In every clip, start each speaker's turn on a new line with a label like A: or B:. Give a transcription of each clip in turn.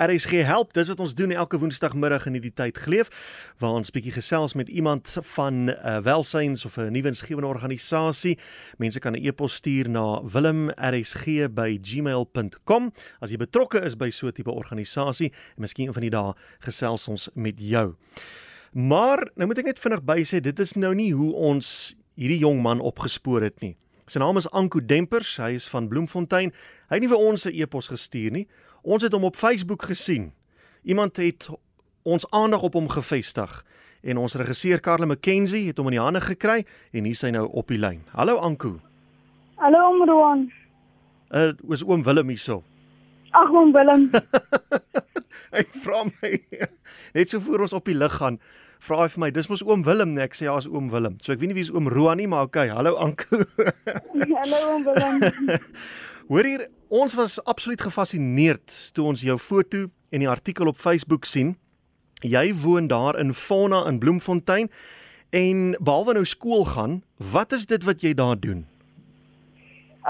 A: RSG help, dis wat ons doen elke woensdagmiddag in hierdie tyd geleef waar ons bietjie gesels met iemand van 'n uh, welsyns of 'n nuwensgewende organisasie. Mense kan 'n e-pos stuur na wilmrsg@gmail.com as jy betrokke is by so 'n tipe organisasie en miskien een van die dae gesels ons met jou. Maar nou moet ek net vinnig by sê dit is nou nie hoe ons hierdie jong man opgespoor het nie. Sy naam is Anko Dempers, hy is van Bloemfontein. Hy het nie vir ons 'n e-pos gestuur nie. Ons het hom op Facebook gesien. Iemand het ons aandag op hom gevestig en ons regisseur Karl McKenzie het hom in die hande gekry en hier is hy nou op die lyn. Hallo Anko.
B: Hallo oom Roan.
A: Uh was oom Willem hierso.
B: Ag oom Willem.
A: Hy vra my net so voor ons op die lig gaan, vra hy vir my, dis mos oom Willem nee, ek sê ja, is oom Willem. So ek weet nie wie is oom Roan nie, maar okay, hallo Anko.
B: Hallo oom Willem.
A: Hoor hier, ons was absoluut gefassineerd toe ons jou foto en die artikel op Facebook sien. Jy woon daar in Fauna in Bloemfontein en behalwe nou skool gaan, wat is dit wat jy daar doen?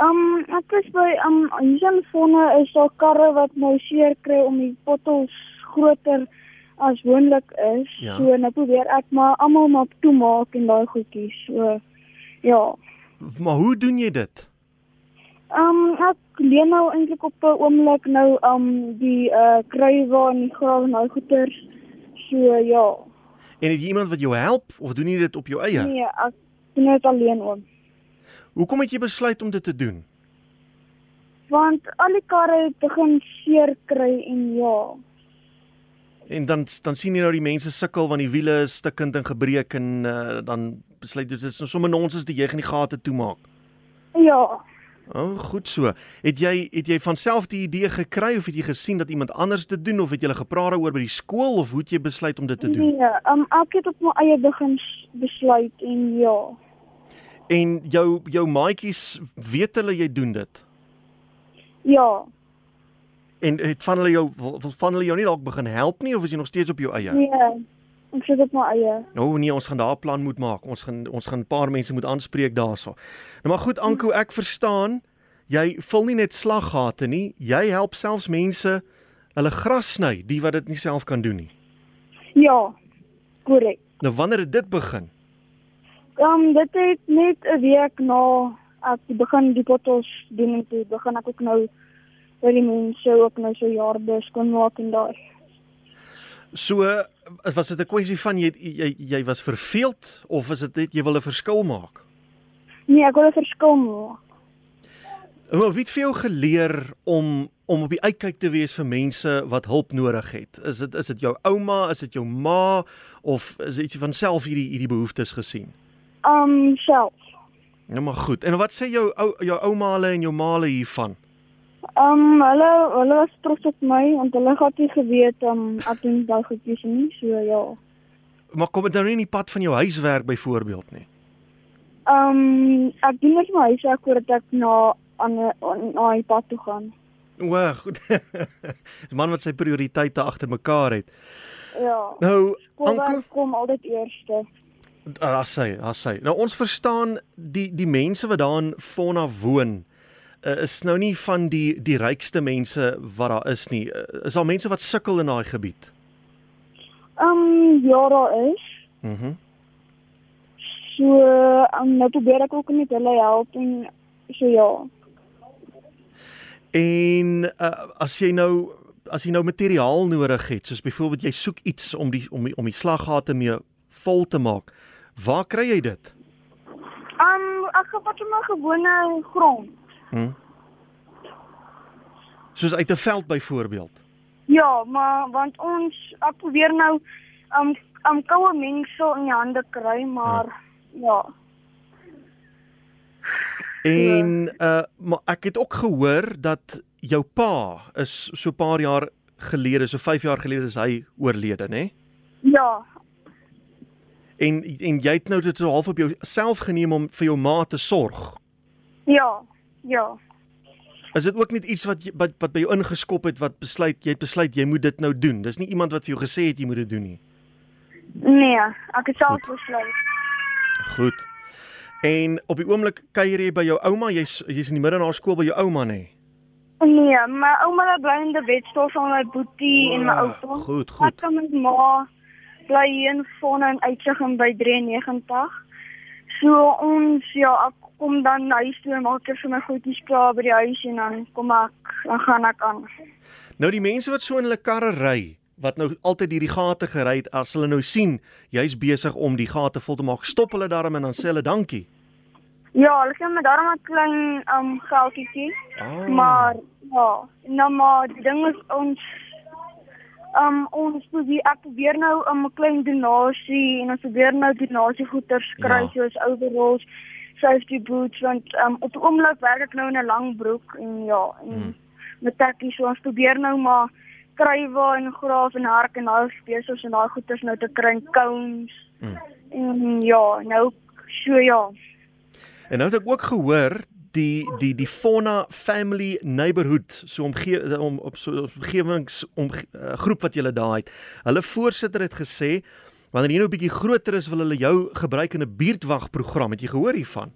B: Um ek is by um Jenfonne is daar karre wat nou seer kry om die bottels groter as moontlik is.
A: Ja.
B: So nou probeer ek maar almal maar toemaak en daai goedjies. So ja.
A: Maar hoe doen jy dit?
B: Um ek leen nou eintlik op 'n oomblik nou um die uh kruiwa en die grawe en daai goeters. So ja.
A: En het jy iemand wat jou help of doen jy dit op jou eie?
B: Nee, ek doen dit alleen oom.
A: Hoekom het jy besluit om dit te doen?
B: Want al die karre het begin seer kry en ja.
A: En dan dan sien jy nou die mense sukkel want die wiele is stikkend en gebreek en uh, dan besluit jy dit is nou sommer nonsens dat jy gaan die gate toemaak.
B: Ja.
A: O, oh, goed so. Het jy het jy van self die idee gekry of het jy gesien dat iemand anders dit doen of het julle gepraat daaroor by die skool of hoe het jy besluit om dit te doen?
B: Nee, um, ek het op my eie begin s- besluit en ja.
A: En jou jou maatjies weet hulle jy doen dit.
B: Ja.
A: En het van hulle jou van hulle jou nie dalk begin help nie of is jy nog steeds op jou eie?
B: Nee. Ek sit op my eie.
A: O oh, nee, ons gaan daar 'n plan moet maak. Ons gaan ons gaan 'n paar mense moet aanspreek daarso. Nou maar goed Anko, ek verstaan. Jy vul nie net slaggate nie. Jy help selfs mense hulle gras sny, die wat dit nie self kan doen nie.
B: Ja. Korrek.
A: Nou wanneer het dit begin?
B: Um dit het net 'n week na ek begin die bottels doen en toe begin ek ook nou vir die mense ook nou so jaarbe skoonmaak en daai.
A: So eh, was dit 'n kwessie van jy jy jy was verveeld of is dit net jy wil 'n verskil maak?
B: Nee, ek wil 'n verskil maak.
A: Hoe wie het vir jou geleer om om op die uitkyk te wees vir mense wat hulp nodig het? Is dit is dit jou ouma, is dit jou ma of is dit ietsie van self hierdie hierdie behoeftes gesien?
B: Um self.
A: Nou maar goed. En wat sê jou ou jou ouma hulle en jou ma hulle hiervan?
B: Um hulle hulle was trots op my want hulle het nie geweet um ek doen daai goedjies nie, so ja.
A: Maar kom dit nou nie in die pad van jou huiswerk byvoorbeeld nie.
B: Ehm um, ek doen net my huis ek voordat ek na aan na die pad toe gaan.
A: O, goed. Dis 'n man wat sy prioriteite agter mekaar het.
B: Ja.
A: Nou, Anko,
B: Kom kom altyd eerste.
A: Ah, sy, ah, sy. Nou ons verstaan die die mense wat daar in Fona woon uh, is nou nie van die die rykste mense wat daar is nie. Uh, is daar mense wat sukkel in daai gebied?
B: Ehm um, ja daar is.
A: Mhm. Mm
B: So um, nou probeer ek ook net hulle help en so ja.
A: en uh, as jy nou as jy nou materiaal nodig het, soos byvoorbeeld jy soek iets om die om die, om die slaggate mee vol te maak, waar kry jy dit?
B: Ehm um, ek gaan vat my gewone grond.
A: Hm? Soos uit 'n veld byvoorbeeld.
B: Ja, maar want ons ek probeer nou ehm um, ehm um, koue mengsel in die hande kry, maar ja.
A: En uh maar ek het ook gehoor dat jou pa is so 'n paar jaar gelede, so 5 jaar gelede is hy oorlede, nê?
B: Ja.
A: En en jy het nou dit so half op jouself geneem om vir jou ma te sorg.
B: Ja. Ja.
A: Is dit ook net iets wat jy, wat wat by jou ingeskop het wat besluit jy het besluit jy moet dit nou doen. Dis nie iemand wat vir jou gesê het jy moet dit doen nie.
B: Nee, ek het self besluit.
A: Goed. En op die oomblik kuier jy by jou ouma, jy's jy's in die middag na skool by jou ouma nê.
B: Nee, my ouma bly in die bedstoel van my boetie en my
A: Ah,
B: oupa.
A: Goed,
B: Ek
A: goed.
B: kan my ma bly hier in Fonne en uitsig en by 93. So ons ja, ek kom dan huis toe en maak ek vir my goedjies klaar by die huis en dan kom ek dan gaan ek aan.
A: Nou die mense wat so in hulle karre ry, wat nou altyd hierdie gate gery het, as hulle nou sien jy's besig om die gate vol te maak, stop hulle daarmee en dan sê hulle dankie.
B: Ja, hulle gee my daarom 'n klein um geldjie,
A: Ah.
B: maar ja, nou maar die ding is ons um ons probeer ek probeer nou 'n klein donasie en ons probeer nou donasiegoeders
A: Ja.
B: kry soos overalls, safety boots want um op die oomblik werk ek nou in 'n lang broek en ja, en
A: Mm.
B: mm. met tekkies so ons probeer nou maar krywe en graaf en hark en daai spesies en daai goeders nou te kry en cones.
A: Mm.
B: Mm. En ja, nou so ja.
A: En nou het ek ook gehoor die die die Fauna Family Neighborhood so omgee om op so omgewings om uh, groep wat julle daai het. Hulle voorsitter het gesê wanneer jy nou 'n bietjie groter is wil hulle jou gebruik in 'n buurtwag program. Het jy gehoor hiervan?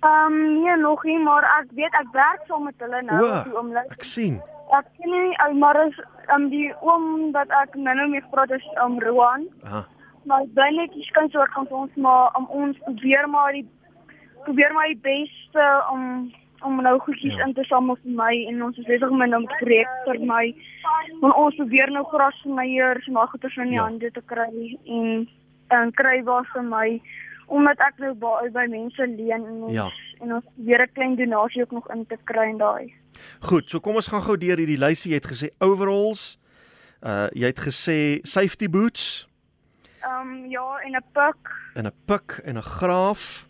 B: Ehm um, nee nog nie, maar ek weet ek werk saam met hulle nou
A: Wow.
B: op die oomblik.
A: Ek sien.
B: Ek ken nie ou maar is um, die oom dat ek nou-nou mee gepraat is om um, Roan,
A: Ah,
B: maar ek bly net hier kan soort van vir ons maar om ons probeer maar die probeer maar die beste om om nou goedjies
A: Ja.
B: ja. in te samel vir my en ons is besig nou met 'n projek vir my. Want ons probeer nou gras vir my hier so maar goeie van die
A: Ja.
B: ja. hande te kry en en kry waar vir my omdat ek nou by, by mense leen en ons
A: ja.
B: en ons weer 'n klein donasie ook nog in te kry en daai.
A: Goed, so kom ons gaan gou deur hierdie lysie. Jy het gesê overalls. Uh jy het gesê safety boots
B: Ehm um, ja, en 'n pik
A: en 'n pik en 'n graaf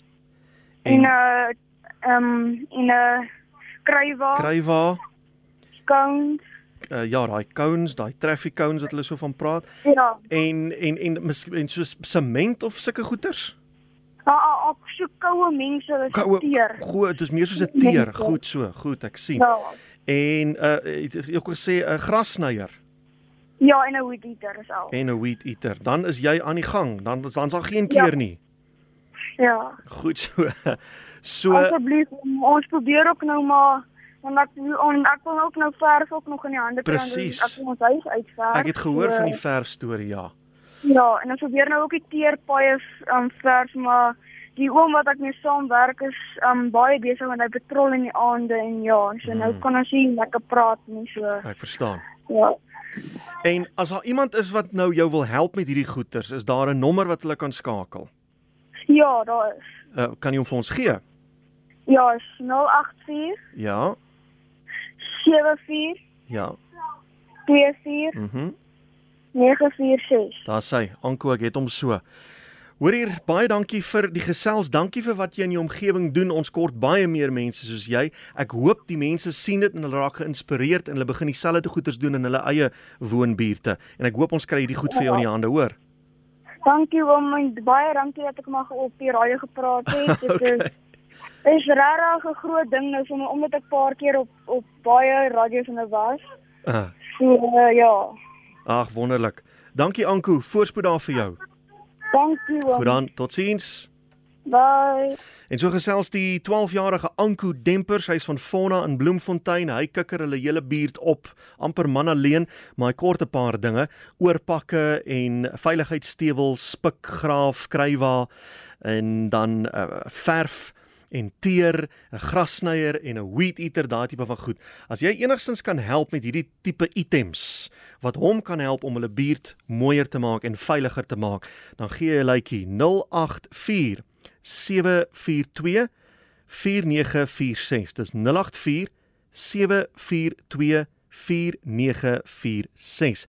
B: en
A: en
B: 'n ehm en 'n krywa,
A: krywa.
B: skoon.
A: Uh, ja, daai cones, daai traffic cones wat hulle so van praat.
B: Ja,
A: en en en mis- en soos sement of sulke goeters?
B: daar op so koue mense wat steer.
A: goed, dit is meer soos 'n
B: Nee,
A: teer.
B: nee.
A: Goed so, goed, ek sien.
B: Ja.
A: En uh het jy ook gesê 'n grassnyer
B: Ja, en 'n weed eater is al.
A: en 'n weed eater. Dan is jy aan die gang. Dan is- dan sal geen
B: Ja.
A: keer nie.
B: Ja.
A: Goed so. So eh,
B: Asseblief, ons probeer ook nou maar want ek on, ek wil ook nou verf ook nog in die hande kry. want
A: Presies.
B: Ek wil ons huis uitverf.
A: ek het gehoor
B: so-
A: van die verf storie, ja.
B: Ja, en ons probeer nou ook die teerpaaie um, vers, maar die oom wat ek mee saamwerk is um, baie besig want hy patrol in die aande en ja, so mm. nou
A: Mm.
B: kan ons nie lekker praat nie so.
A: Ek verstaan.
B: Ja.
A: En as daar iemand is wat nou jou wil help met hierdie goeters, is daar 'n nommer wat hulle kan skakel?
B: Ja, daar is.
A: Uh, kan jy hom vir ons gee?
B: Ja, is 084
A: Ja.
B: 74
A: Ja.
B: 24
A: Mhm. Mm
B: 946.
A: Daar sê Anko, ek het hom so. Hoor hier, baie dankie vir die gesels. Dankie vir wat jy in jou omgewing doen. Ons kort baie meer mense soos jy. Ek hoop die mense sien dit en hulle raak geïnspireerd en hulle begin dieselfde goeders doen in hulle eie woonbuurte. En ek hoop ons kry hierdie goed vir jou in die hande, hoor.
B: Dankie oom, en baie dankie dat ek mag op die radio gepraat het. Dit
A: Okay.
B: is is regtig 'n groot ding nou vir my omdat ek 'n paar keer op op baie radio's en was.
A: Ah,
B: So uh, ja.
A: Ag, wonderlik. Dankie Anko, voorspoed daar vir jou.
B: Dankie oom.
A: Goed dan, totsiens.
B: Bye.
A: En so gesels die 12-jarige Anko Dempers, hy's van Fauna in Bloemfontein. Hy kikker hulle hele buurt op, amper man alleen, maar hy kort 'n paar dinge, oorpakke en veiligheidsstewels, spikgraaf, krywa en dan uh, verf en teer, 'n grassnyer en 'n weed eater, daai tipe van goed. As jy enigstens kan help met hierdie tipe items wat hom kan help om hulle buurt mooier te maak en veiliger te maak, dan gee jy 'n lykie 084 742 4946. Dis 084 742 4946.